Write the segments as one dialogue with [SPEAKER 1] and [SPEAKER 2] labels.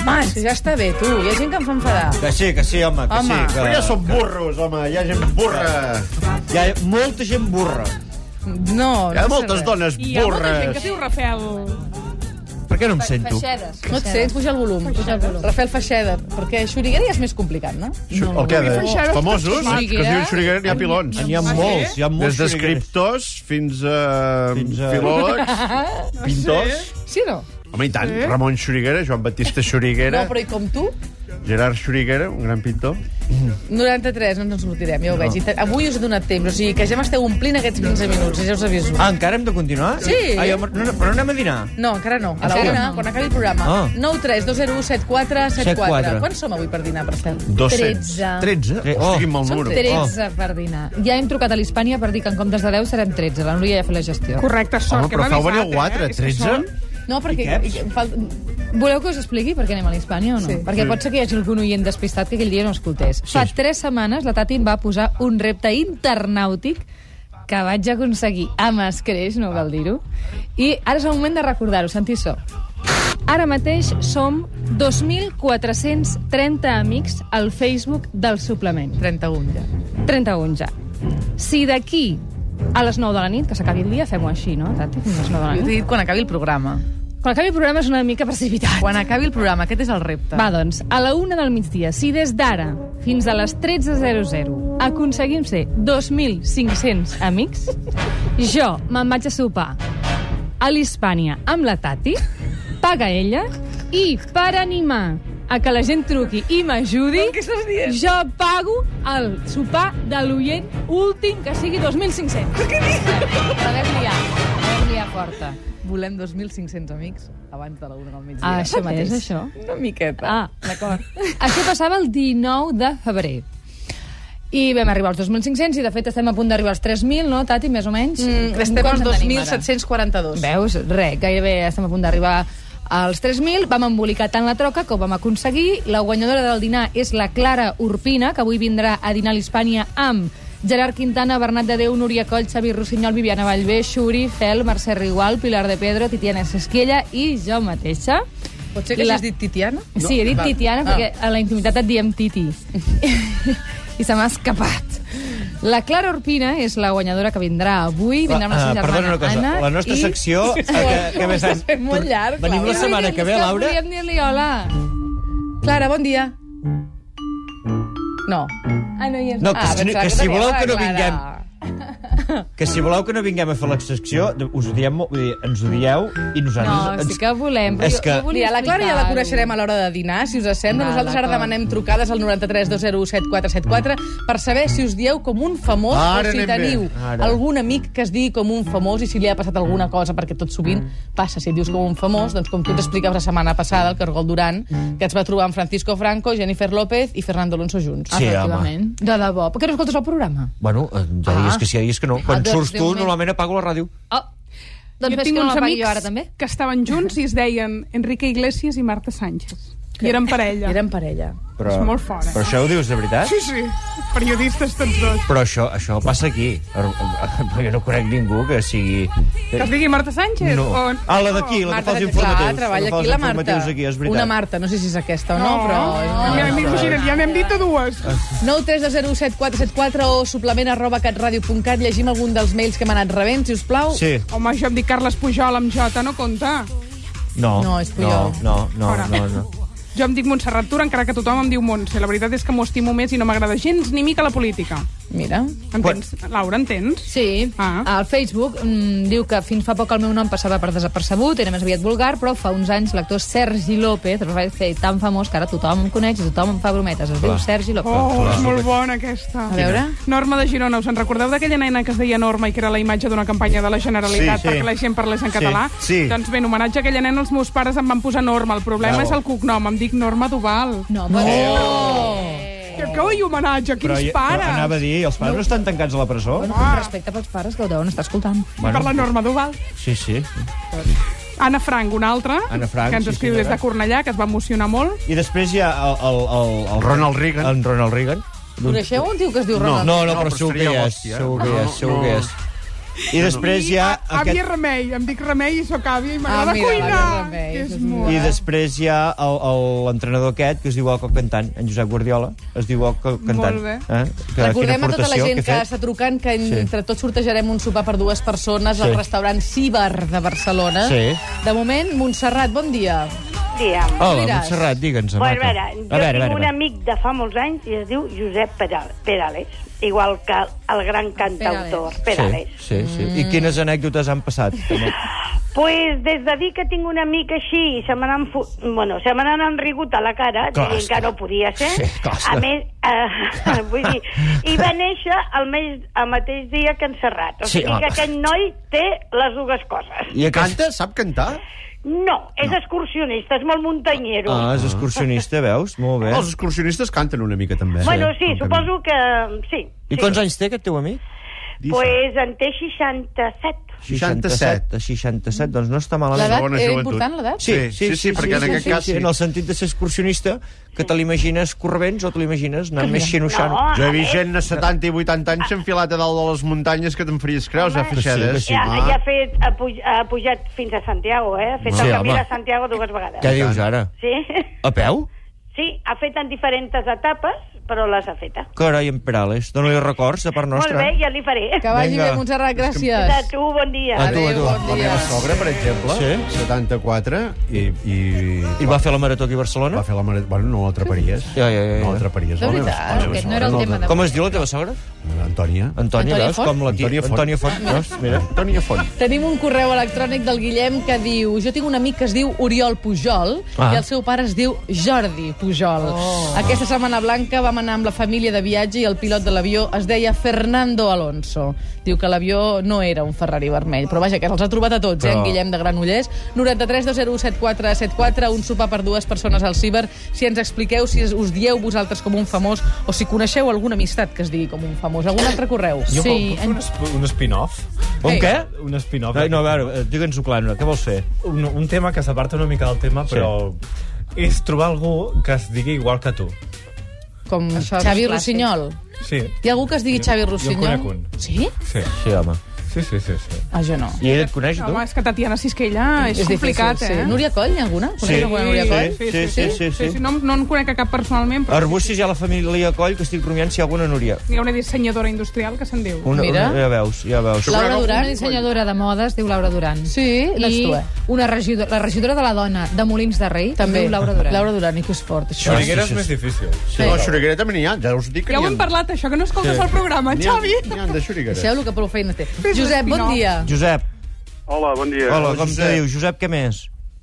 [SPEAKER 1] Home, si ja està bé, tu. Hi ha gent que em fa enfadar.
[SPEAKER 2] Que sí, que sí, home, que
[SPEAKER 1] Home.
[SPEAKER 2] sí. Que...
[SPEAKER 3] Però ja som burros, home, hi ha gent burra.
[SPEAKER 2] Hi ha molta gent burra.
[SPEAKER 1] No,
[SPEAKER 3] Hi ha
[SPEAKER 1] no sé
[SPEAKER 3] moltes
[SPEAKER 1] res.
[SPEAKER 3] dones
[SPEAKER 4] I hi ha molta gent que
[SPEAKER 3] burres.
[SPEAKER 4] diu Rafel.
[SPEAKER 3] Per què no em sento?
[SPEAKER 5] Feixedes.
[SPEAKER 1] No et sents, puja el volum. Puja el volum. Rafael Feixeda, perquè Xuriguera ja és més complicat, no?
[SPEAKER 3] Xu- El que de...
[SPEAKER 4] Feixedes,
[SPEAKER 3] Famosos, que es
[SPEAKER 4] eh?
[SPEAKER 3] diuen xurigueres, n'hi ha pilons.
[SPEAKER 5] Ah,
[SPEAKER 2] N'hi ha molts, hi ha molts.
[SPEAKER 3] Des d'escriptors fins a,
[SPEAKER 2] Fins a-
[SPEAKER 3] filòlegs, pintors...
[SPEAKER 1] Sí o no?
[SPEAKER 3] Home, i tant. Ramon Xuriguera, Joan Batista Xuriguera,
[SPEAKER 1] No, però i com tu,
[SPEAKER 3] Gerard Xuriguera, un gran pintor.
[SPEAKER 1] 93, no ens en sortirem, ja ho veig. I te- Avui us he donat temps, o sigui que ja m'esteu omplint aquests 15 minuts, ja us aviso.
[SPEAKER 2] Ah, encara hem de continuar?
[SPEAKER 1] Sí.
[SPEAKER 2] Ah, jo, no, no, però anem a dinar.
[SPEAKER 1] No, encara no. A
[SPEAKER 2] En
[SPEAKER 1] la
[SPEAKER 2] sèrio?
[SPEAKER 1] una, quan acabi el programa.
[SPEAKER 2] Ah.
[SPEAKER 1] 9 3 2 0 7 4 7 4.
[SPEAKER 2] 74.
[SPEAKER 1] Quan som avui per dinar, per cert?
[SPEAKER 3] 200.
[SPEAKER 5] 13.
[SPEAKER 3] 13?
[SPEAKER 2] Tre-
[SPEAKER 3] Hosti,
[SPEAKER 2] oh.
[SPEAKER 3] quin mal
[SPEAKER 5] Som
[SPEAKER 3] número.
[SPEAKER 5] 13 per dinar. Ja hem trucat a l'Hispània per dir que en comptes de 10 serem 13. La Núria ja fa la gestió.
[SPEAKER 4] Correcte, sort,
[SPEAKER 3] Home,
[SPEAKER 4] que
[SPEAKER 3] però
[SPEAKER 4] m'ha
[SPEAKER 3] feu venir
[SPEAKER 4] avisat,
[SPEAKER 3] quatre,
[SPEAKER 4] eh? És que
[SPEAKER 3] 13?
[SPEAKER 4] són-
[SPEAKER 1] No, perquè...
[SPEAKER 2] Piquets?
[SPEAKER 1] i- i- em Fal...
[SPEAKER 5] Voleu que us expliqui per què anem a l'Hispània o no?
[SPEAKER 1] Sí.
[SPEAKER 5] Sí. Perquè pot ser que hi hagi algun oient despistat que aquell dia no escoltés. Fa tres setmanes la Tati em va posar un repte internàutic que vaig aconseguir amb escreix, no cal dir-ho. I ara és el moment de recordar-ho, sentir so. Ara mateix som 2.430 amics al Facebook del suplement.
[SPEAKER 1] 31, ja.
[SPEAKER 5] 31 ja. Si d'aquí a les 9 de la nit, que s'acabi el dia, fem-ho així, no, Tati? A les 9 de la
[SPEAKER 1] Jo t'he
[SPEAKER 5] nit.
[SPEAKER 1] dit quan acabi el programa.
[SPEAKER 5] Quan acabi el programa és una mica precipitat.
[SPEAKER 1] Quan acabi el programa, aquest és el repte.
[SPEAKER 5] Va, doncs, a la una del migdia, si des d'ara fins a les 13.00 aconseguim ser 2.500 amics, jo me'n vaig a sopar a l'Hispània amb la Tati, paga ella, i per animar a que la gent truqui i m'ajudi, jo pago el sopar de l'oient últim que sigui 2.500. Què dius? La vam liar, la vam liar forta.
[SPEAKER 1] Volem 2.500 amics abans de la 1 del migdia.
[SPEAKER 5] Ah, això mateix, això.
[SPEAKER 1] Una miqueta.
[SPEAKER 5] Ah, d'acord. Això passava el 19 de febrer. I vam arribar als 2.500 i, de fet, estem a punt d'arribar als 3.000, no, Tati, més o menys?
[SPEAKER 1] Mm, estem
[SPEAKER 5] Quants
[SPEAKER 1] als
[SPEAKER 5] en tenim ara?
[SPEAKER 1] 2.742.
[SPEAKER 5] Veus? Re, gairebé estem a punt d'arribar als 3.000. Vam embolicar tant la troca com vam aconseguir. La guanyadora del dinar és la Clara Urpina, que avui vindrà a dinar a l'Hispània amb Gerard Quintana, Bernat de Déu, Núria Coll, Xavi Rossinyol, Viviana Vallvé, Xuri, Fel, Mercè Rigual, Pilar de Pedro, Titiana Sesquiella i jo mateixa.
[SPEAKER 1] Potser que
[SPEAKER 5] I
[SPEAKER 1] la...
[SPEAKER 5] la-
[SPEAKER 1] has dit Titiana?
[SPEAKER 5] No, sí, he dit
[SPEAKER 1] Va.
[SPEAKER 5] Titi ara
[SPEAKER 1] Ah.
[SPEAKER 5] perquè a la intimitat et diem Titi. I se m'ha escapat. La Clara Orpina és la guanyadora que vindrà avui. Vindrà amb la seva
[SPEAKER 2] Ah,
[SPEAKER 5] germana
[SPEAKER 2] perdona una cosa,
[SPEAKER 5] Anna.
[SPEAKER 2] la nostra
[SPEAKER 5] i...
[SPEAKER 2] secció... eh, que- que més
[SPEAKER 1] Estàs fent molt llarg,
[SPEAKER 2] Venim
[SPEAKER 1] Clara.
[SPEAKER 2] la setmana que ve, Laura.
[SPEAKER 5] Volíem dir-li hola.
[SPEAKER 1] Clara, bon dia. No.
[SPEAKER 5] Mm. Ah, no hi és.
[SPEAKER 2] No, que,
[SPEAKER 1] Ah,
[SPEAKER 2] si,
[SPEAKER 1] pensava
[SPEAKER 2] que si
[SPEAKER 1] tenia
[SPEAKER 2] voleu
[SPEAKER 1] la
[SPEAKER 2] que no
[SPEAKER 1] Clara.
[SPEAKER 2] vinguem... Que si voleu que no vinguem a fer la secció, us ho diem, molt, vull dir, ens ho dieu i nosaltres...
[SPEAKER 5] No,
[SPEAKER 2] ens...
[SPEAKER 5] sí que volem. Però
[SPEAKER 2] És
[SPEAKER 5] jo,
[SPEAKER 2] que-
[SPEAKER 5] jo volia
[SPEAKER 1] Mira, la Clara ja la
[SPEAKER 5] explicar-ho.
[SPEAKER 1] coneixerem a l'hora de dinar, si us sembla.
[SPEAKER 5] Va,
[SPEAKER 1] Nosaltres ara
[SPEAKER 5] d'acord.
[SPEAKER 1] demanem trucades al 93 201 7474 per saber si us dieu com un famós
[SPEAKER 3] Ara
[SPEAKER 1] o si
[SPEAKER 3] anem bé.
[SPEAKER 1] teniu
[SPEAKER 2] Ara.
[SPEAKER 1] algun amic que es digui com un famós i si li ha passat alguna cosa, perquè tot sovint passa. Si et dius com un famós, doncs com tu ens explicaves la setmana passada, el Cargol Duran, que ens va trobar amb Francisco Franco, Jennifer López i Fernando Alonso junts.
[SPEAKER 2] Sí, home.
[SPEAKER 5] Efectivament. De debò. Per què no escoltes el programa?
[SPEAKER 2] Bueno, eh, ja
[SPEAKER 5] Ah.
[SPEAKER 2] digues que sí, ja digues que no. Quan
[SPEAKER 5] doncs,
[SPEAKER 2] surts
[SPEAKER 5] de
[SPEAKER 2] tu,
[SPEAKER 5] moment.
[SPEAKER 2] normalment apago la ràdio.
[SPEAKER 5] Oh, doncs
[SPEAKER 4] jo
[SPEAKER 5] ves
[SPEAKER 4] tinc
[SPEAKER 5] que no
[SPEAKER 4] uns
[SPEAKER 5] la
[SPEAKER 4] amics
[SPEAKER 5] paguis ara, també.
[SPEAKER 4] que estaven junts i es deien Enrique Iglesias i Marta Sánchez. I eren parella.
[SPEAKER 1] Érem parella.
[SPEAKER 2] Però,
[SPEAKER 4] És molt fort, eh?
[SPEAKER 2] Però això ho dius de veritat?
[SPEAKER 4] Sí, sí. Periodistes tots dos.
[SPEAKER 2] Però això, això passa aquí. Perquè no conec ningú que sigui...
[SPEAKER 4] Que es digui Marta Sánchez?
[SPEAKER 2] No.
[SPEAKER 4] O...
[SPEAKER 2] Ah, la d'aquí, la que fa els informatius.
[SPEAKER 1] clar, treballa
[SPEAKER 2] la que fa
[SPEAKER 1] aquí
[SPEAKER 2] els
[SPEAKER 1] la Marta.
[SPEAKER 2] informatius Aquí, és veritat.
[SPEAKER 1] Una Marta, no sé si és aquesta o
[SPEAKER 4] Oh.
[SPEAKER 1] no, però... és una-
[SPEAKER 4] Ja n'hem dit, ja n'hem dit a dues.
[SPEAKER 1] 932017474 o suplement arroba catradio.cat. Llegim algun dels mails que hem anat rebent, si us plau.
[SPEAKER 2] Sí.
[SPEAKER 4] Home, jo em dic Carles Pujol amb J, no compta.
[SPEAKER 2] No,
[SPEAKER 1] No, és Puyol.
[SPEAKER 2] No, no,
[SPEAKER 4] Fora.
[SPEAKER 2] no, no.
[SPEAKER 4] Jo em dic Montserrat Tura, encara que tothom em diu Montse. La veritat és que m'ho estimo més i no m'agrada gens ni mica la política.
[SPEAKER 1] Mira.
[SPEAKER 4] Entens? Laura, entens?
[SPEAKER 5] Sí,
[SPEAKER 4] Ah.
[SPEAKER 5] ah. al Facebook mm, diu que fins fa poc el meu nom passava per desapercebut, era més aviat vulgar, però fa uns anys l'actor Sergi López es va fer tan famós que ara tothom em coneix i tothom em fa brometes. Es diu Sergi López.
[SPEAKER 4] Oh, és molt bona aquesta.
[SPEAKER 1] A veure.
[SPEAKER 4] Norma de Girona, us en recordeu d'aquella nena que es deia Norma i que era la imatge d'una campanya de la Generalitat
[SPEAKER 3] Sí, sí.
[SPEAKER 4] perquè la gent parlés en català?
[SPEAKER 3] sí.
[SPEAKER 4] Doncs bé, en homenatge a aquella nena els meus pares em van posar Norma. El problema és el cognom, em dic Norma Duval.
[SPEAKER 5] No, no.
[SPEAKER 4] Que, que oi, homenatge, quins
[SPEAKER 2] jo-
[SPEAKER 4] pares!
[SPEAKER 2] anava a dir, els pares no estan tancats a la presó?
[SPEAKER 5] Bueno, amb respecte pels pares que ho deuen estar escoltant.
[SPEAKER 4] Per la Norma Duval.
[SPEAKER 2] Sí, sí.
[SPEAKER 4] Anna Frank, una altra,
[SPEAKER 2] Anna Frank,
[SPEAKER 4] que ens
[SPEAKER 2] sí,
[SPEAKER 4] escriu des de
[SPEAKER 2] senyora.
[SPEAKER 4] Cornellà, que es va emocionar molt.
[SPEAKER 2] I després hi ha el... el, el, el
[SPEAKER 3] Ronald Reagan.
[SPEAKER 2] En Ronald Reagan. Doncs-
[SPEAKER 1] Coneixeu un tio que es diu Ronald?
[SPEAKER 2] No, no, però
[SPEAKER 3] però
[SPEAKER 2] segur que hi és.
[SPEAKER 3] seria l'hòstia.
[SPEAKER 2] Segur que hi
[SPEAKER 3] No,
[SPEAKER 2] és, segur
[SPEAKER 3] no.
[SPEAKER 2] que hi és. I després hi
[SPEAKER 4] I
[SPEAKER 2] ha...
[SPEAKER 4] a- Àvia Remei, em dic Remei i sóc àvia i m'agrada
[SPEAKER 1] Ah, mira, l'àvia
[SPEAKER 4] cuinar.
[SPEAKER 1] Remei, això
[SPEAKER 4] que és
[SPEAKER 1] és
[SPEAKER 4] molt...
[SPEAKER 2] I després hi ha el- el- l'entrenador aquest, que es diu el coc cantant, en Josep Guardiola. Es diu el coc cantant.
[SPEAKER 4] Molt bé.
[SPEAKER 2] Eh? Que,
[SPEAKER 1] Recordem a tota la gent
[SPEAKER 2] ha
[SPEAKER 1] que,
[SPEAKER 2] fet.
[SPEAKER 1] està trucant que
[SPEAKER 2] Sí.
[SPEAKER 1] entre tots sortejarem un sopar per dues persones
[SPEAKER 2] Sí.
[SPEAKER 1] al restaurant Cíbar de Barcelona.
[SPEAKER 2] Sí.
[SPEAKER 1] De moment, Montserrat, bon dia.
[SPEAKER 6] dia.
[SPEAKER 2] Hola,
[SPEAKER 1] diràs.
[SPEAKER 2] Montserrat, digue'ns.
[SPEAKER 6] Bueno,
[SPEAKER 2] maca.
[SPEAKER 6] a veure, jo a veure, tinc un amic de fa molts anys i es diu Josep Peral- Perales, igual que el gran cantautor Perales.
[SPEAKER 2] Sí, sí, sí. I quines anècdotes han passat?
[SPEAKER 6] Pues des de dir que tinc un amic així i se me n'han fu- bueno, se me n'han enrigut a la cara,
[SPEAKER 2] Clar,
[SPEAKER 6] dient que no podia ser.
[SPEAKER 2] Sí, clar està.
[SPEAKER 6] a més, eh, vull dir, i va néixer el, mes, el mateix dia que en Serrat. O
[SPEAKER 2] Sí,
[SPEAKER 6] sigui
[SPEAKER 2] home.
[SPEAKER 6] que aquest noi té les dues coses.
[SPEAKER 2] I aquest...
[SPEAKER 3] Canta? Sap cantar?
[SPEAKER 6] No, és excursionista, és molt muntanyero.
[SPEAKER 2] Ah, és excursionista, veus? Molt bé.
[SPEAKER 3] Els excursionistes canten una mica, també.
[SPEAKER 6] bueno, sí,
[SPEAKER 3] Com que-
[SPEAKER 6] suposo que... Sí,
[SPEAKER 2] I
[SPEAKER 6] sí.
[SPEAKER 2] quants anys té aquest teu amic?
[SPEAKER 3] Dissabte.
[SPEAKER 6] Pues en té 67.
[SPEAKER 3] 67.
[SPEAKER 2] 67, doncs no està malament.
[SPEAKER 1] L'edat
[SPEAKER 3] segona
[SPEAKER 1] era
[SPEAKER 3] joventut.
[SPEAKER 1] important, l'edat?
[SPEAKER 3] Sí, sí, sí, perquè en aquest cas sí.
[SPEAKER 2] En el sentit de ser excursionista, que te l'imagines corrents o te l'imagines anant més xinoxant.
[SPEAKER 6] No.
[SPEAKER 3] Jo he vist gent de 70 i 80 anys enfilat a dalt de les muntanyes que te'n faries creus, a
[SPEAKER 2] que
[SPEAKER 3] Freixedes.
[SPEAKER 2] sí.
[SPEAKER 6] Ja,
[SPEAKER 3] Ah.
[SPEAKER 6] ja ha, fet, ha, puj, ha pujat fins a Santiago, eh? Ha fet
[SPEAKER 2] Sí,
[SPEAKER 6] el camí
[SPEAKER 2] home.
[SPEAKER 6] de Santiago dues vegades.
[SPEAKER 2] Què dius ara?
[SPEAKER 6] Sí.
[SPEAKER 2] A peu?
[SPEAKER 6] sí, ha fet en diferents etapes, però les ha fetes.
[SPEAKER 2] Carai, en Perales, dona-li records de part nostra.
[SPEAKER 6] Molt bé, ja li faré.
[SPEAKER 1] Que vagi
[SPEAKER 2] Vinga.
[SPEAKER 1] bé, Montserrat,
[SPEAKER 6] De
[SPEAKER 1] gràcies.
[SPEAKER 6] tu, bon dia.
[SPEAKER 2] A tu, a
[SPEAKER 1] Adéu,
[SPEAKER 2] tu.
[SPEAKER 1] bon
[SPEAKER 3] La
[SPEAKER 1] dia.
[SPEAKER 3] meva sogra, per exemple,
[SPEAKER 2] Sí.
[SPEAKER 3] 74, i, i,
[SPEAKER 2] I va fer la marató aquí a Barcelona?
[SPEAKER 3] va fer la mare... Bueno, no l'atraparies.
[SPEAKER 2] Ja, ja, ja, ja.
[SPEAKER 3] No l'atraparies.
[SPEAKER 1] De
[SPEAKER 3] la meva
[SPEAKER 1] veritat,
[SPEAKER 3] sogra, la meva
[SPEAKER 5] aquest no era el
[SPEAKER 3] sogra,
[SPEAKER 5] tema
[SPEAKER 2] Com es diu la teva sogra?
[SPEAKER 3] Antònia.
[SPEAKER 2] Antònia,
[SPEAKER 1] Antònia
[SPEAKER 2] veus?
[SPEAKER 1] Font?
[SPEAKER 2] Com l'equip.
[SPEAKER 3] Antònia Font.
[SPEAKER 2] Antònia Font. Veus? Mira.
[SPEAKER 3] Antònia Font.
[SPEAKER 1] Tenim un correu electrònic del Guillem que diu jo tinc un amic que es diu Oriol Pujol
[SPEAKER 2] Ah.
[SPEAKER 1] i el seu pare es diu Jordi Pujol. Oh. Aquesta Setmana Blanca vam anar amb la família de viatge i el pilot de l'avió es deia Fernando Alonso. Diu que l'avió no era un Ferrari vermell, però vaja, que els ha trobat a tots, eh, en
[SPEAKER 2] Però-
[SPEAKER 1] Guillem de Granollers. 93 7474, un sopar per dues persones al Ciber. Si ens expliqueu si us dieu vosaltres com un famós o si coneixeu alguna amistat que es digui com un famós. Algun altre correu?
[SPEAKER 7] Jo
[SPEAKER 5] Sí,
[SPEAKER 7] sí, puc, puc fer
[SPEAKER 5] en-
[SPEAKER 7] un, esp- un spin-off? Eh?
[SPEAKER 2] Un
[SPEAKER 1] Ei.
[SPEAKER 2] què?
[SPEAKER 7] Un spin-off.
[SPEAKER 2] Ai, no, a veure, eh, digue'ns-ho clar, Nora, què vols fer?
[SPEAKER 7] un, un tema que s'aparta una mica del tema, però sí. és trobar algú que es digui igual que tu.
[SPEAKER 1] Com
[SPEAKER 5] és
[SPEAKER 1] Xavi
[SPEAKER 5] clàssic.
[SPEAKER 1] Rossinyol?
[SPEAKER 7] Sí.
[SPEAKER 1] Hi ha algú que es digui Xavi Rossinyol?
[SPEAKER 7] conec un.
[SPEAKER 1] Sí?
[SPEAKER 7] Sí,
[SPEAKER 2] Sí, home.
[SPEAKER 7] sí, sí, sí. sí.
[SPEAKER 1] Ah, jo no.
[SPEAKER 2] I ell et coneix, tu?
[SPEAKER 4] Home, és que Tatiana Sisquella és, és complicat,
[SPEAKER 1] difícil,
[SPEAKER 4] eh?
[SPEAKER 1] Sí. Núria Coll, n'hi ha alguna? Coneixes
[SPEAKER 2] Sí.
[SPEAKER 1] alguna Núria Coll?
[SPEAKER 2] Sí, sí, sí, sí, sí.
[SPEAKER 4] No, no en conec a cap personalment, però
[SPEAKER 2] Arbúcies hi ha la família Coll, que estic rumiant si hi ha alguna Núria.
[SPEAKER 4] hi ha una dissenyadora industrial que se'n diu.
[SPEAKER 2] Una,
[SPEAKER 1] Mira.
[SPEAKER 2] Una, ja veus, ja veus.
[SPEAKER 1] Laura
[SPEAKER 5] Una
[SPEAKER 1] Duran?
[SPEAKER 5] dissenyadora de modes, diu Laura Duran.
[SPEAKER 1] Sí, eh.
[SPEAKER 5] I
[SPEAKER 1] l'Estué.
[SPEAKER 5] una regidora, la regidora de la dona de Molins de Rei,
[SPEAKER 1] També.
[SPEAKER 5] diu Laura Duran.
[SPEAKER 1] Laura Duran, i que és fort, això.
[SPEAKER 7] Xuriguera
[SPEAKER 2] sí,
[SPEAKER 7] és
[SPEAKER 2] sí.
[SPEAKER 7] més difícil.
[SPEAKER 3] Sí. No, Xuriguera també n'hi ha, ja us dic que
[SPEAKER 4] Ja ho
[SPEAKER 3] n'hi ha.
[SPEAKER 4] hem parlat, això, que no escoltes sí. el programa,
[SPEAKER 3] N'hi ha-
[SPEAKER 4] Xavi.
[SPEAKER 3] N'hi ha de Xurigueres.
[SPEAKER 1] Deixeu-lo que prou feina té.
[SPEAKER 4] Fes
[SPEAKER 1] Josep, bon
[SPEAKER 4] l'espinol.
[SPEAKER 1] dia.
[SPEAKER 2] Josep,
[SPEAKER 8] Hola, bon dia.
[SPEAKER 2] hola, com te
[SPEAKER 3] Josep.
[SPEAKER 2] dius? Josep, què més?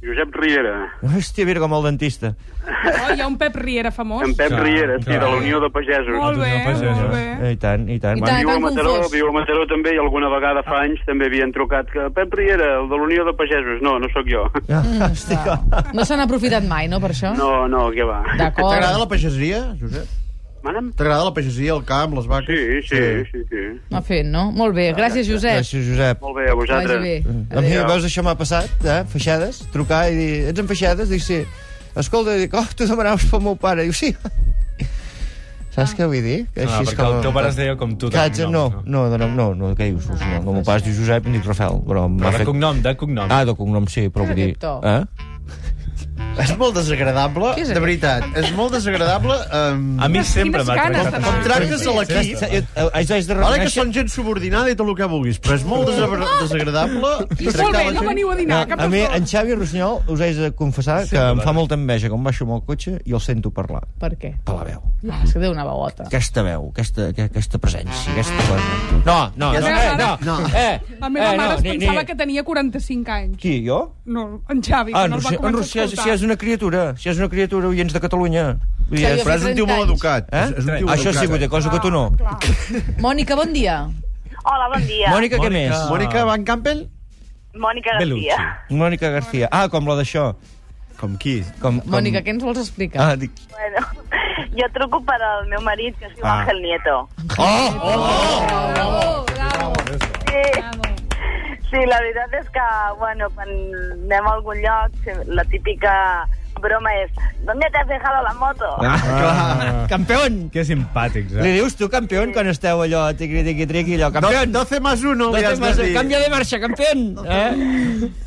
[SPEAKER 8] Josep Riera.
[SPEAKER 2] Hòstia, mira com el dentista.
[SPEAKER 4] Oh, hi ha un Pep Riera famós.
[SPEAKER 8] En Pep
[SPEAKER 7] Clar,
[SPEAKER 8] Riera, sí,
[SPEAKER 7] clar.
[SPEAKER 8] de la Unió de Pagesos.
[SPEAKER 4] Molt bé,
[SPEAKER 7] Doncs no passa
[SPEAKER 4] molt
[SPEAKER 7] res.
[SPEAKER 4] bé.
[SPEAKER 2] Eh, I tant, i tant.
[SPEAKER 1] I
[SPEAKER 2] Bueno,
[SPEAKER 1] tant.
[SPEAKER 8] Viu a Mataró,
[SPEAKER 1] confós.
[SPEAKER 8] viu a Mataró també, i alguna vegada fa anys també havien trucat que Pep Riera, el de la Unió de Pagesos. No, no sóc jo.
[SPEAKER 2] Ah,
[SPEAKER 1] Mm,
[SPEAKER 2] Hòstia.
[SPEAKER 1] No se n'ha aprofitat mai, no, per això?
[SPEAKER 8] No, no, què va.
[SPEAKER 1] D'acord.
[SPEAKER 3] T'agrada la pagesia, Josep?
[SPEAKER 8] Mana'm?
[SPEAKER 3] T'agrada la pagesia, el camp, les vaques?
[SPEAKER 8] Sí, sí, sí, sí.
[SPEAKER 1] M'ha fet, no? Molt bé, gràcies, Josep.
[SPEAKER 2] Gràcies, Doncs Josep.
[SPEAKER 8] Molt bé, a
[SPEAKER 1] Que Vagi
[SPEAKER 8] vosaltres.
[SPEAKER 1] bé.
[SPEAKER 2] A mi, veus, això m'ha passat, eh? Feixades, trucar i dir, ets en Feixades? Dic, sí. Escolta, dic, oh, tu demanaves pel meu pare. Diu,
[SPEAKER 1] Ah.
[SPEAKER 2] sí. Saps què vull dir? Que
[SPEAKER 7] Ah, perquè el teu pare es deia com tu. de
[SPEAKER 2] Cats, no,
[SPEAKER 7] cognom,
[SPEAKER 2] no, no, no, no, què dius? No, el meu pare es diu Josep i em dic e Rafael, però m'ha
[SPEAKER 7] Però de
[SPEAKER 2] fet...
[SPEAKER 7] cognom, de cognom.
[SPEAKER 2] Ah, de cognom, sí, però vull dir...
[SPEAKER 1] Perfecto.
[SPEAKER 2] Eh?
[SPEAKER 3] És molt desagradable,
[SPEAKER 1] Què és
[SPEAKER 3] de
[SPEAKER 1] aquest?
[SPEAKER 3] veritat. És molt desagradable... Um...
[SPEAKER 7] A mi
[SPEAKER 4] Quines
[SPEAKER 7] sempre m'ha
[SPEAKER 4] ganes
[SPEAKER 7] tractat.
[SPEAKER 4] de
[SPEAKER 3] Com
[SPEAKER 4] Ah,
[SPEAKER 3] tractes a l'equip...
[SPEAKER 2] Haig haig eh, de
[SPEAKER 3] Ara que
[SPEAKER 2] reconèixer...
[SPEAKER 3] són gent subordinada i tot el que vulguis, però és molt desagra desagradable tractar
[SPEAKER 4] Oh! Molt bé,
[SPEAKER 3] la
[SPEAKER 4] no
[SPEAKER 3] gent...
[SPEAKER 4] veniu a dinar, cap
[SPEAKER 2] a mi, en
[SPEAKER 4] en...
[SPEAKER 2] Xavi Rossinyol, us haig de confessar que em fa molta enveja quan baixo amb el cotxe i el sento parlar.
[SPEAKER 1] Per què?
[SPEAKER 2] Per la veu.
[SPEAKER 1] Ah, és que té una bagota.
[SPEAKER 2] Aquesta veu, aquesta, aqu- aquesta presència, aquesta cosa. No, no,
[SPEAKER 3] Ja
[SPEAKER 2] no, eh,
[SPEAKER 4] sé,
[SPEAKER 2] no.
[SPEAKER 4] ara-
[SPEAKER 2] no.
[SPEAKER 3] no.
[SPEAKER 2] Eh,
[SPEAKER 4] La meva
[SPEAKER 2] eh,
[SPEAKER 4] mare
[SPEAKER 2] no,
[SPEAKER 4] es
[SPEAKER 2] ni-
[SPEAKER 4] pensava
[SPEAKER 2] ni-
[SPEAKER 4] que tenia 45 anys.
[SPEAKER 2] Qui, jo?
[SPEAKER 4] No, en Xavi,
[SPEAKER 2] Ah,
[SPEAKER 4] que
[SPEAKER 2] en
[SPEAKER 4] no el va
[SPEAKER 2] Rossinyol, en
[SPEAKER 4] començar a
[SPEAKER 2] Rossinyol, si
[SPEAKER 4] escoltar.
[SPEAKER 2] és una criatura, si és una criatura, oients de Catalunya. Vull dir,
[SPEAKER 1] Xavi,
[SPEAKER 2] és-
[SPEAKER 3] Però és un tio molt educat.
[SPEAKER 2] Eh?
[SPEAKER 3] És, és un tio
[SPEAKER 2] Això sí, vull dir,
[SPEAKER 3] educat.
[SPEAKER 2] cosa que tu no.
[SPEAKER 1] Mònica, bon dia.
[SPEAKER 6] Hola, bon dia.
[SPEAKER 2] Mònica, què més?
[SPEAKER 4] Ah.
[SPEAKER 3] Mònica Van Campbell?
[SPEAKER 6] Mònica García.
[SPEAKER 7] Bellucci.
[SPEAKER 2] Mònica García. Ah, com la d'això.
[SPEAKER 3] Com qui?
[SPEAKER 2] Com, com...
[SPEAKER 1] Mònica, què ens vols explicar?
[SPEAKER 2] Ah, dic...
[SPEAKER 6] Bueno, jo truco per al meu marit, que es diu
[SPEAKER 2] Ah.
[SPEAKER 6] Ángel Nieto.
[SPEAKER 2] Oh! oh!
[SPEAKER 6] Sí.
[SPEAKER 9] Sí, la veritat és que, bueno, quan anem a algun lloc, la típica broma és ¿Dónde te has dejado la moto?
[SPEAKER 2] Ah, clar. Campeón!
[SPEAKER 7] Que simpàtics,
[SPEAKER 2] Li
[SPEAKER 7] eh?
[SPEAKER 2] dius tu, campeón, quan esteu allò, tiqui-tiqui-triqui, allò,
[SPEAKER 3] Do-
[SPEAKER 2] campeón!
[SPEAKER 3] 12 más 1, li has de dir.
[SPEAKER 2] Canvia de marxa, campeón! Eh?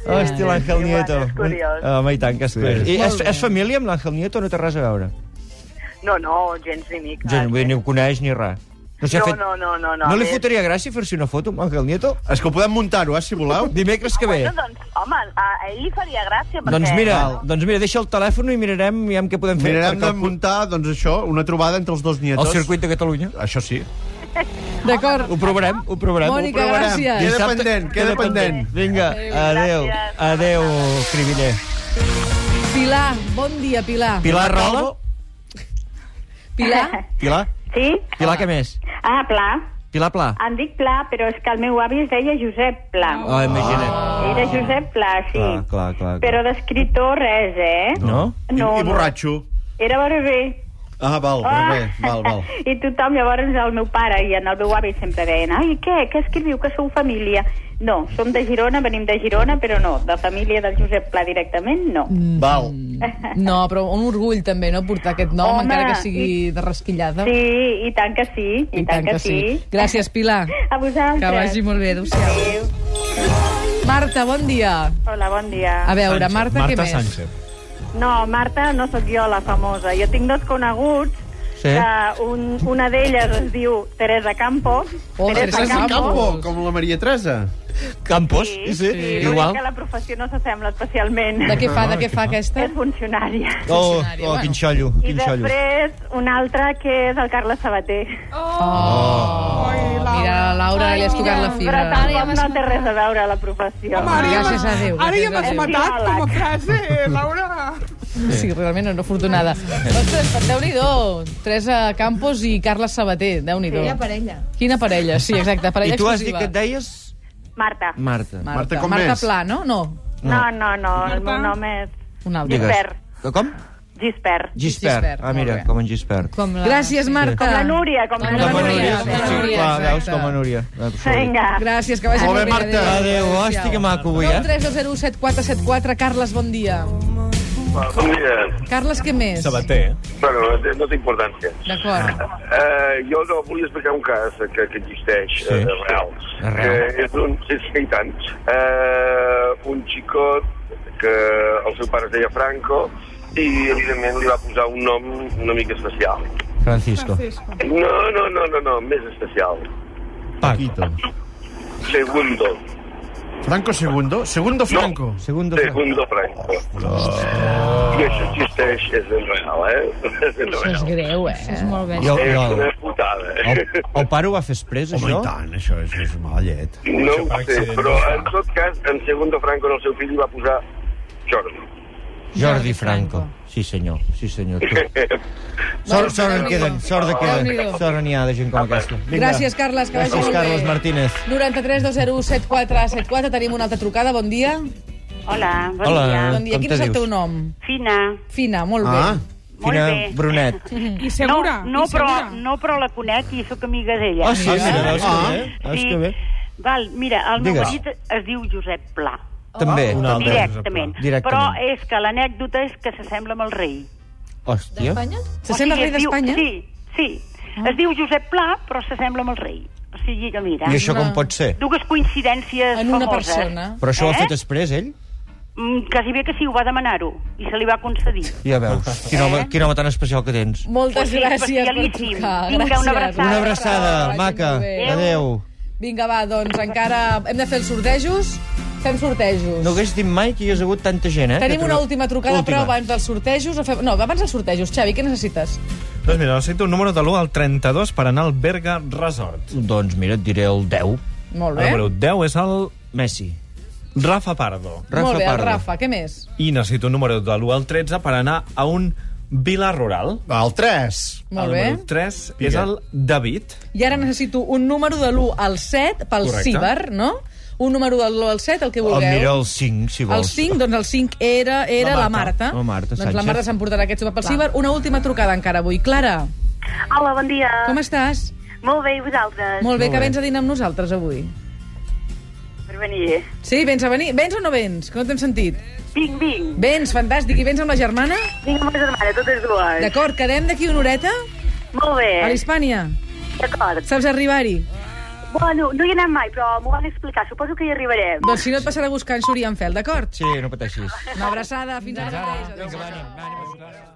[SPEAKER 2] Hosti, l'Àngel
[SPEAKER 9] bueno,
[SPEAKER 2] Nieto.
[SPEAKER 9] és curiós.
[SPEAKER 2] Home, i tant que sí.
[SPEAKER 7] Sí.
[SPEAKER 2] I és, és família amb l'Àngel Nieto o no té res a veure?
[SPEAKER 9] Ah, No, no, gens ni mica.
[SPEAKER 2] Jo
[SPEAKER 6] eh?
[SPEAKER 2] ni, ni ho coneix ni res. No, s'hi ha
[SPEAKER 9] No, no, no, no, no,
[SPEAKER 2] No li
[SPEAKER 9] a més-
[SPEAKER 2] fotria gràcia fer-se una foto amb Ángel Nieto?
[SPEAKER 3] És que ho podem muntar-ho, eh, si voleu.
[SPEAKER 2] Dimecres que ve.
[SPEAKER 9] Bueno, doncs, home, a, a ell li faria gràcia, perquè...
[SPEAKER 2] Doncs mira, doncs mira, deixa el telèfon i mirarem, mirarem què podem fer.
[SPEAKER 3] Mirarem
[SPEAKER 2] perquè
[SPEAKER 3] de
[SPEAKER 2] el-
[SPEAKER 3] muntar, doncs això, una trobada entre els dos nietos.
[SPEAKER 2] El circuit de Catalunya.
[SPEAKER 3] Això sí.
[SPEAKER 1] D'acord.
[SPEAKER 2] Ho provarem, ho provarem.
[SPEAKER 1] Mònica,
[SPEAKER 2] ho provarem.
[SPEAKER 1] gràcies.
[SPEAKER 3] Queda
[SPEAKER 2] Dissabte-
[SPEAKER 3] pendent, queda pendent.
[SPEAKER 2] Vinga, adeu.
[SPEAKER 9] gràcies.
[SPEAKER 2] Adeu, Cribiller.
[SPEAKER 1] Pilar, bon dia, Pilar.
[SPEAKER 2] Pilar Rola?
[SPEAKER 1] Pilar?
[SPEAKER 2] Pilar?
[SPEAKER 6] Sí?
[SPEAKER 2] Pilar, què més?
[SPEAKER 6] Ah, Pla.
[SPEAKER 2] Pilar Pla?
[SPEAKER 6] Em dic Pla, però és que el meu avi es deia Josep Pla.
[SPEAKER 2] Oh,
[SPEAKER 3] Ah.
[SPEAKER 2] imagina't.
[SPEAKER 6] Era Josep Pla, sí.
[SPEAKER 2] Clar, clar, clar. clar.
[SPEAKER 6] Però d'escriptor res, eh?
[SPEAKER 2] No?
[SPEAKER 6] No,
[SPEAKER 3] I, I
[SPEAKER 6] no.
[SPEAKER 3] borratxo.
[SPEAKER 6] Era barber.
[SPEAKER 3] Ah, val, ah. bé, val, val.
[SPEAKER 6] I tothom, llavors, el meu pare i en el meu avi sempre deien ai, què, què escriviu, que sou família? No, som de Girona, venim de Girona, però no, de família del Josep Pla directament, no.
[SPEAKER 3] Val.
[SPEAKER 1] No, però un orgull també, no?, portar aquest nom,
[SPEAKER 6] Home,
[SPEAKER 1] encara que sigui de rasquillada.
[SPEAKER 6] Sí, i tant que sí, i, tant, que, sí.
[SPEAKER 1] Gràcies, Pilar.
[SPEAKER 6] A vosaltres.
[SPEAKER 1] Que vagi molt bé, adéu-siau. Marta, bon dia.
[SPEAKER 9] Hola, bon dia.
[SPEAKER 1] A veure, Marta, què
[SPEAKER 7] Marta
[SPEAKER 1] més?
[SPEAKER 7] Sánchez.
[SPEAKER 9] No, Marta, no sóc jo la famosa. Jo tinc dos coneguts,
[SPEAKER 2] Sí?
[SPEAKER 9] que un, una d'elles es diu Teresa Campo.
[SPEAKER 1] Oh, Teresa
[SPEAKER 3] Teresa Campo,
[SPEAKER 1] Campos.
[SPEAKER 3] com la Maria Teresa.
[SPEAKER 2] Campos? sí.
[SPEAKER 9] L'únic
[SPEAKER 2] Igual.
[SPEAKER 9] que la professió no s'assembla especialment.
[SPEAKER 1] De què fa, de què fa aquesta?
[SPEAKER 9] És funcionària.
[SPEAKER 2] Oh,
[SPEAKER 1] funcionari,
[SPEAKER 2] oh,
[SPEAKER 1] bueno.
[SPEAKER 2] quin xollo,
[SPEAKER 9] I
[SPEAKER 2] quin xollo.
[SPEAKER 9] després, un altre que és el Carles Sabater.
[SPEAKER 1] Oh, mira, la Laura, li has tocat la
[SPEAKER 9] Però
[SPEAKER 1] fibra.
[SPEAKER 9] tant,
[SPEAKER 5] Ara ja
[SPEAKER 9] com
[SPEAKER 5] m'has
[SPEAKER 9] no té res a veure la professió.
[SPEAKER 4] Home, ara ja
[SPEAKER 1] Gràcies
[SPEAKER 4] m'has-
[SPEAKER 1] a Déu,
[SPEAKER 4] Ara ja
[SPEAKER 1] gràcies a
[SPEAKER 4] m'has
[SPEAKER 1] Déu.
[SPEAKER 4] matat com a frase, Laura.
[SPEAKER 1] Sí, realment no afortunada. Ostres, déu-n'hi-do. Teresa Campos i Carla Sabater, déu-n'hi-do.
[SPEAKER 5] Quina parella.
[SPEAKER 1] Quina parella, sí, exacte,
[SPEAKER 2] I
[SPEAKER 1] parella
[SPEAKER 2] tu has dit
[SPEAKER 1] exclusiva.
[SPEAKER 2] que et deies
[SPEAKER 9] Marta.
[SPEAKER 2] Marta.
[SPEAKER 3] Marta, com
[SPEAKER 1] Marta
[SPEAKER 3] és?
[SPEAKER 1] Pla, no? No,
[SPEAKER 9] No, no, no, el meu nom és
[SPEAKER 1] una altra.
[SPEAKER 2] Digues.
[SPEAKER 9] Gisbert.
[SPEAKER 2] Com?
[SPEAKER 9] Gispert.
[SPEAKER 2] Gispert.
[SPEAKER 1] Gispert,
[SPEAKER 2] Ah, mira,
[SPEAKER 1] molt bé.
[SPEAKER 2] com en Gispert.
[SPEAKER 5] Com la...
[SPEAKER 1] Gràcies, Marta.
[SPEAKER 9] Com la Núria, com la
[SPEAKER 1] Com la
[SPEAKER 9] Núria.
[SPEAKER 1] Núria,
[SPEAKER 2] Sí,
[SPEAKER 1] com la Núria,
[SPEAKER 2] clar,
[SPEAKER 1] exacte.
[SPEAKER 2] veus, com a Núria. Absolut.
[SPEAKER 9] Vinga.
[SPEAKER 1] Gràcies, que vagi
[SPEAKER 3] Molt
[SPEAKER 1] molt
[SPEAKER 3] bé,
[SPEAKER 1] bé.
[SPEAKER 3] Marta.
[SPEAKER 2] Adéu, hosti, que maco avui, eh?
[SPEAKER 1] 932017474. Carles, bon dia.
[SPEAKER 8] Bon dia.
[SPEAKER 1] Carles, què més?
[SPEAKER 7] Sabater, eh?
[SPEAKER 8] Bueno, no té importància.
[SPEAKER 2] Ah.
[SPEAKER 1] D'acord.
[SPEAKER 8] Eh, jo no, volia explicar un cas que, que existeix,
[SPEAKER 7] Sí.
[SPEAKER 8] sí. eh, real.
[SPEAKER 2] Real.
[SPEAKER 8] Que és un, sí, sí, i tant. Eh, un xicot que el seu pare es deia Franco i, evidentment, li va posar un nom una mica especial.
[SPEAKER 2] Francisco.
[SPEAKER 8] No, no, no, no, no més especial.
[SPEAKER 2] Paquito.
[SPEAKER 8] Segundo.
[SPEAKER 3] Franco Segundo? Segundo Franco.
[SPEAKER 2] Segundo Francisco.
[SPEAKER 8] Segundo Franco. I això existeix, és en real, eh? És en
[SPEAKER 1] Això és
[SPEAKER 8] real.
[SPEAKER 1] greu, eh?
[SPEAKER 5] És molt bé.
[SPEAKER 2] Jo,
[SPEAKER 8] És
[SPEAKER 2] jo,
[SPEAKER 8] una putada. eh?
[SPEAKER 2] el, el pare ho va fer exprés,
[SPEAKER 3] Home, i
[SPEAKER 2] això?
[SPEAKER 3] tant, això és, és mala llet.
[SPEAKER 8] No ho
[SPEAKER 7] per
[SPEAKER 8] sé,
[SPEAKER 7] accident,
[SPEAKER 8] però
[SPEAKER 7] no
[SPEAKER 8] en tot cas, en Segundo Franco, en el seu fill, li va posar Jordi.
[SPEAKER 2] Jordi Franco. Sí, senyor. Sí, senyor. Tu.
[SPEAKER 1] Bueno,
[SPEAKER 2] Sort, sort en
[SPEAKER 1] Déu-n'hi-do.
[SPEAKER 2] queden, sort en queden.
[SPEAKER 1] Déu-n'hi-do.
[SPEAKER 2] Sort n'hi ha de gent com aquesta. Vinga.
[SPEAKER 1] Gràcies, Carles, que vagi
[SPEAKER 2] Gràcies,
[SPEAKER 1] molt bé.
[SPEAKER 2] Carles Martínez.
[SPEAKER 1] 932017474. Tenim una altra trucada, bon dia.
[SPEAKER 6] Hola, bon
[SPEAKER 2] Hola.
[SPEAKER 6] dia.
[SPEAKER 1] Bon dia,
[SPEAKER 2] Ah, com
[SPEAKER 1] quin
[SPEAKER 2] te
[SPEAKER 1] és el
[SPEAKER 2] dius?
[SPEAKER 1] teu nom?
[SPEAKER 6] Fina.
[SPEAKER 1] Fina, molt bé.
[SPEAKER 3] Ah,
[SPEAKER 6] Molt
[SPEAKER 2] Quina
[SPEAKER 6] bé.
[SPEAKER 2] Brunet.
[SPEAKER 4] I segura,
[SPEAKER 6] no, no,
[SPEAKER 4] i
[SPEAKER 6] però,
[SPEAKER 4] segura.
[SPEAKER 6] no, però la conec i sóc amiga d'ella.
[SPEAKER 2] Ah, sí, mira, veus que
[SPEAKER 3] Ah.
[SPEAKER 2] bé. Veus que bé.
[SPEAKER 6] Val, mira, el meu
[SPEAKER 2] Digues.
[SPEAKER 6] marit es diu Josep Pla.
[SPEAKER 2] També.
[SPEAKER 1] Ah,
[SPEAKER 7] una altra.
[SPEAKER 6] Directament.
[SPEAKER 2] Directament.
[SPEAKER 6] Però és que l'anècdota és que s'assembla amb el rei.
[SPEAKER 2] Hòstia.
[SPEAKER 1] Se sent el rei
[SPEAKER 6] es diu-
[SPEAKER 1] d'Espanya? Ah.
[SPEAKER 6] Sí, sí. Es diu Josep Pla, però s'assembla amb el rei. O sigui que mira,
[SPEAKER 2] I això com pot ser?
[SPEAKER 6] dues coincidències
[SPEAKER 1] En una
[SPEAKER 6] famoses.
[SPEAKER 1] persona.
[SPEAKER 2] Però això ho ha
[SPEAKER 6] Eh?
[SPEAKER 2] fet després, ell?
[SPEAKER 6] Mm, quasi bé que sí, ho va demanar-ho. I se li va concedir.
[SPEAKER 2] Ja veus.
[SPEAKER 1] Eh?
[SPEAKER 2] Quin home, quin home tan especial que tens.
[SPEAKER 1] Moltes
[SPEAKER 6] Pues sí,
[SPEAKER 1] gràcies per
[SPEAKER 6] especialíssim.
[SPEAKER 1] trucar.
[SPEAKER 6] Vinga,
[SPEAKER 1] Gràcies.
[SPEAKER 6] una abraçada.
[SPEAKER 2] Una abraçada,
[SPEAKER 1] Vagi
[SPEAKER 2] maca. Eh?
[SPEAKER 1] molt bé.
[SPEAKER 2] Adéu.
[SPEAKER 1] Vinga, va, doncs encara hem de fer els sortejos. Fem sortejos.
[SPEAKER 2] No hagués dit mai que hi hagués hagut tanta gent, eh?
[SPEAKER 1] Tenim
[SPEAKER 2] Que
[SPEAKER 1] una
[SPEAKER 2] tro-
[SPEAKER 1] última trucada, però abans dels sortejos... o Fem... No, abans dels sortejos. Xavi, què necessites?
[SPEAKER 7] Doncs mira, necessito un número de l'1 al 32 per anar al Berga Resort.
[SPEAKER 2] Doncs mira, et diré el 10.
[SPEAKER 1] Molt
[SPEAKER 7] El
[SPEAKER 2] Ah,
[SPEAKER 1] bé.
[SPEAKER 7] número 10 és el
[SPEAKER 2] Messi.
[SPEAKER 7] Rafa Pardo.
[SPEAKER 2] Rafa
[SPEAKER 1] molt bé, el
[SPEAKER 2] Pardo.
[SPEAKER 1] Rafa, què més?
[SPEAKER 7] I necessito un número de l'1 al 13 per anar a un vila rural.
[SPEAKER 3] el 3.
[SPEAKER 1] Molt
[SPEAKER 2] Ah,
[SPEAKER 7] el
[SPEAKER 1] bé.
[SPEAKER 7] número 3 és el David.
[SPEAKER 1] I ara necessito un número de l'1 al 7 pel
[SPEAKER 7] Correcte.
[SPEAKER 1] Ciber, no? Un número de l'1 al 7, el que
[SPEAKER 2] Oh,
[SPEAKER 1] vulgueu.
[SPEAKER 2] mira el 5, si
[SPEAKER 1] El
[SPEAKER 2] vols.
[SPEAKER 1] 5, doncs el 5 era, era la Marta.
[SPEAKER 2] La Marta
[SPEAKER 1] doncs la
[SPEAKER 2] Sánchez.
[SPEAKER 1] Marta s'emportarà aquest sopar pel Ciber. Una última trucada encara avui. Clara,
[SPEAKER 9] Hola, bon dia.
[SPEAKER 6] Ah.
[SPEAKER 1] com estàs?
[SPEAKER 9] Molt bé, i vosaltres?
[SPEAKER 1] Molt bé que vens a dinar amb nosaltres avui.
[SPEAKER 6] venir.
[SPEAKER 1] Sí, vens a venir. Vens o no vens? Que no t'hem sentit.
[SPEAKER 6] Vinc, vinc.
[SPEAKER 1] Vens, fantàstic. I vens amb la germana?
[SPEAKER 6] Vinc amb la germana, totes dues.
[SPEAKER 1] D'acord, quedem d'aquí una horeta
[SPEAKER 6] Molt
[SPEAKER 1] a
[SPEAKER 6] bé,
[SPEAKER 1] l'Hispània.
[SPEAKER 6] d'acord.
[SPEAKER 1] Saps arribar-hi?
[SPEAKER 6] Bueno, no hi he anat mai, però m'ho van explicar. Suposo que hi arribarem.
[SPEAKER 1] Doncs si no et passarà a buscar en Xuri en Fel, d'acord?
[SPEAKER 10] Sí, no pateixis.
[SPEAKER 1] Una abraçada, fins ara mateix. Adéu.
[SPEAKER 10] Vinga, va, anem, va, anem a jugar.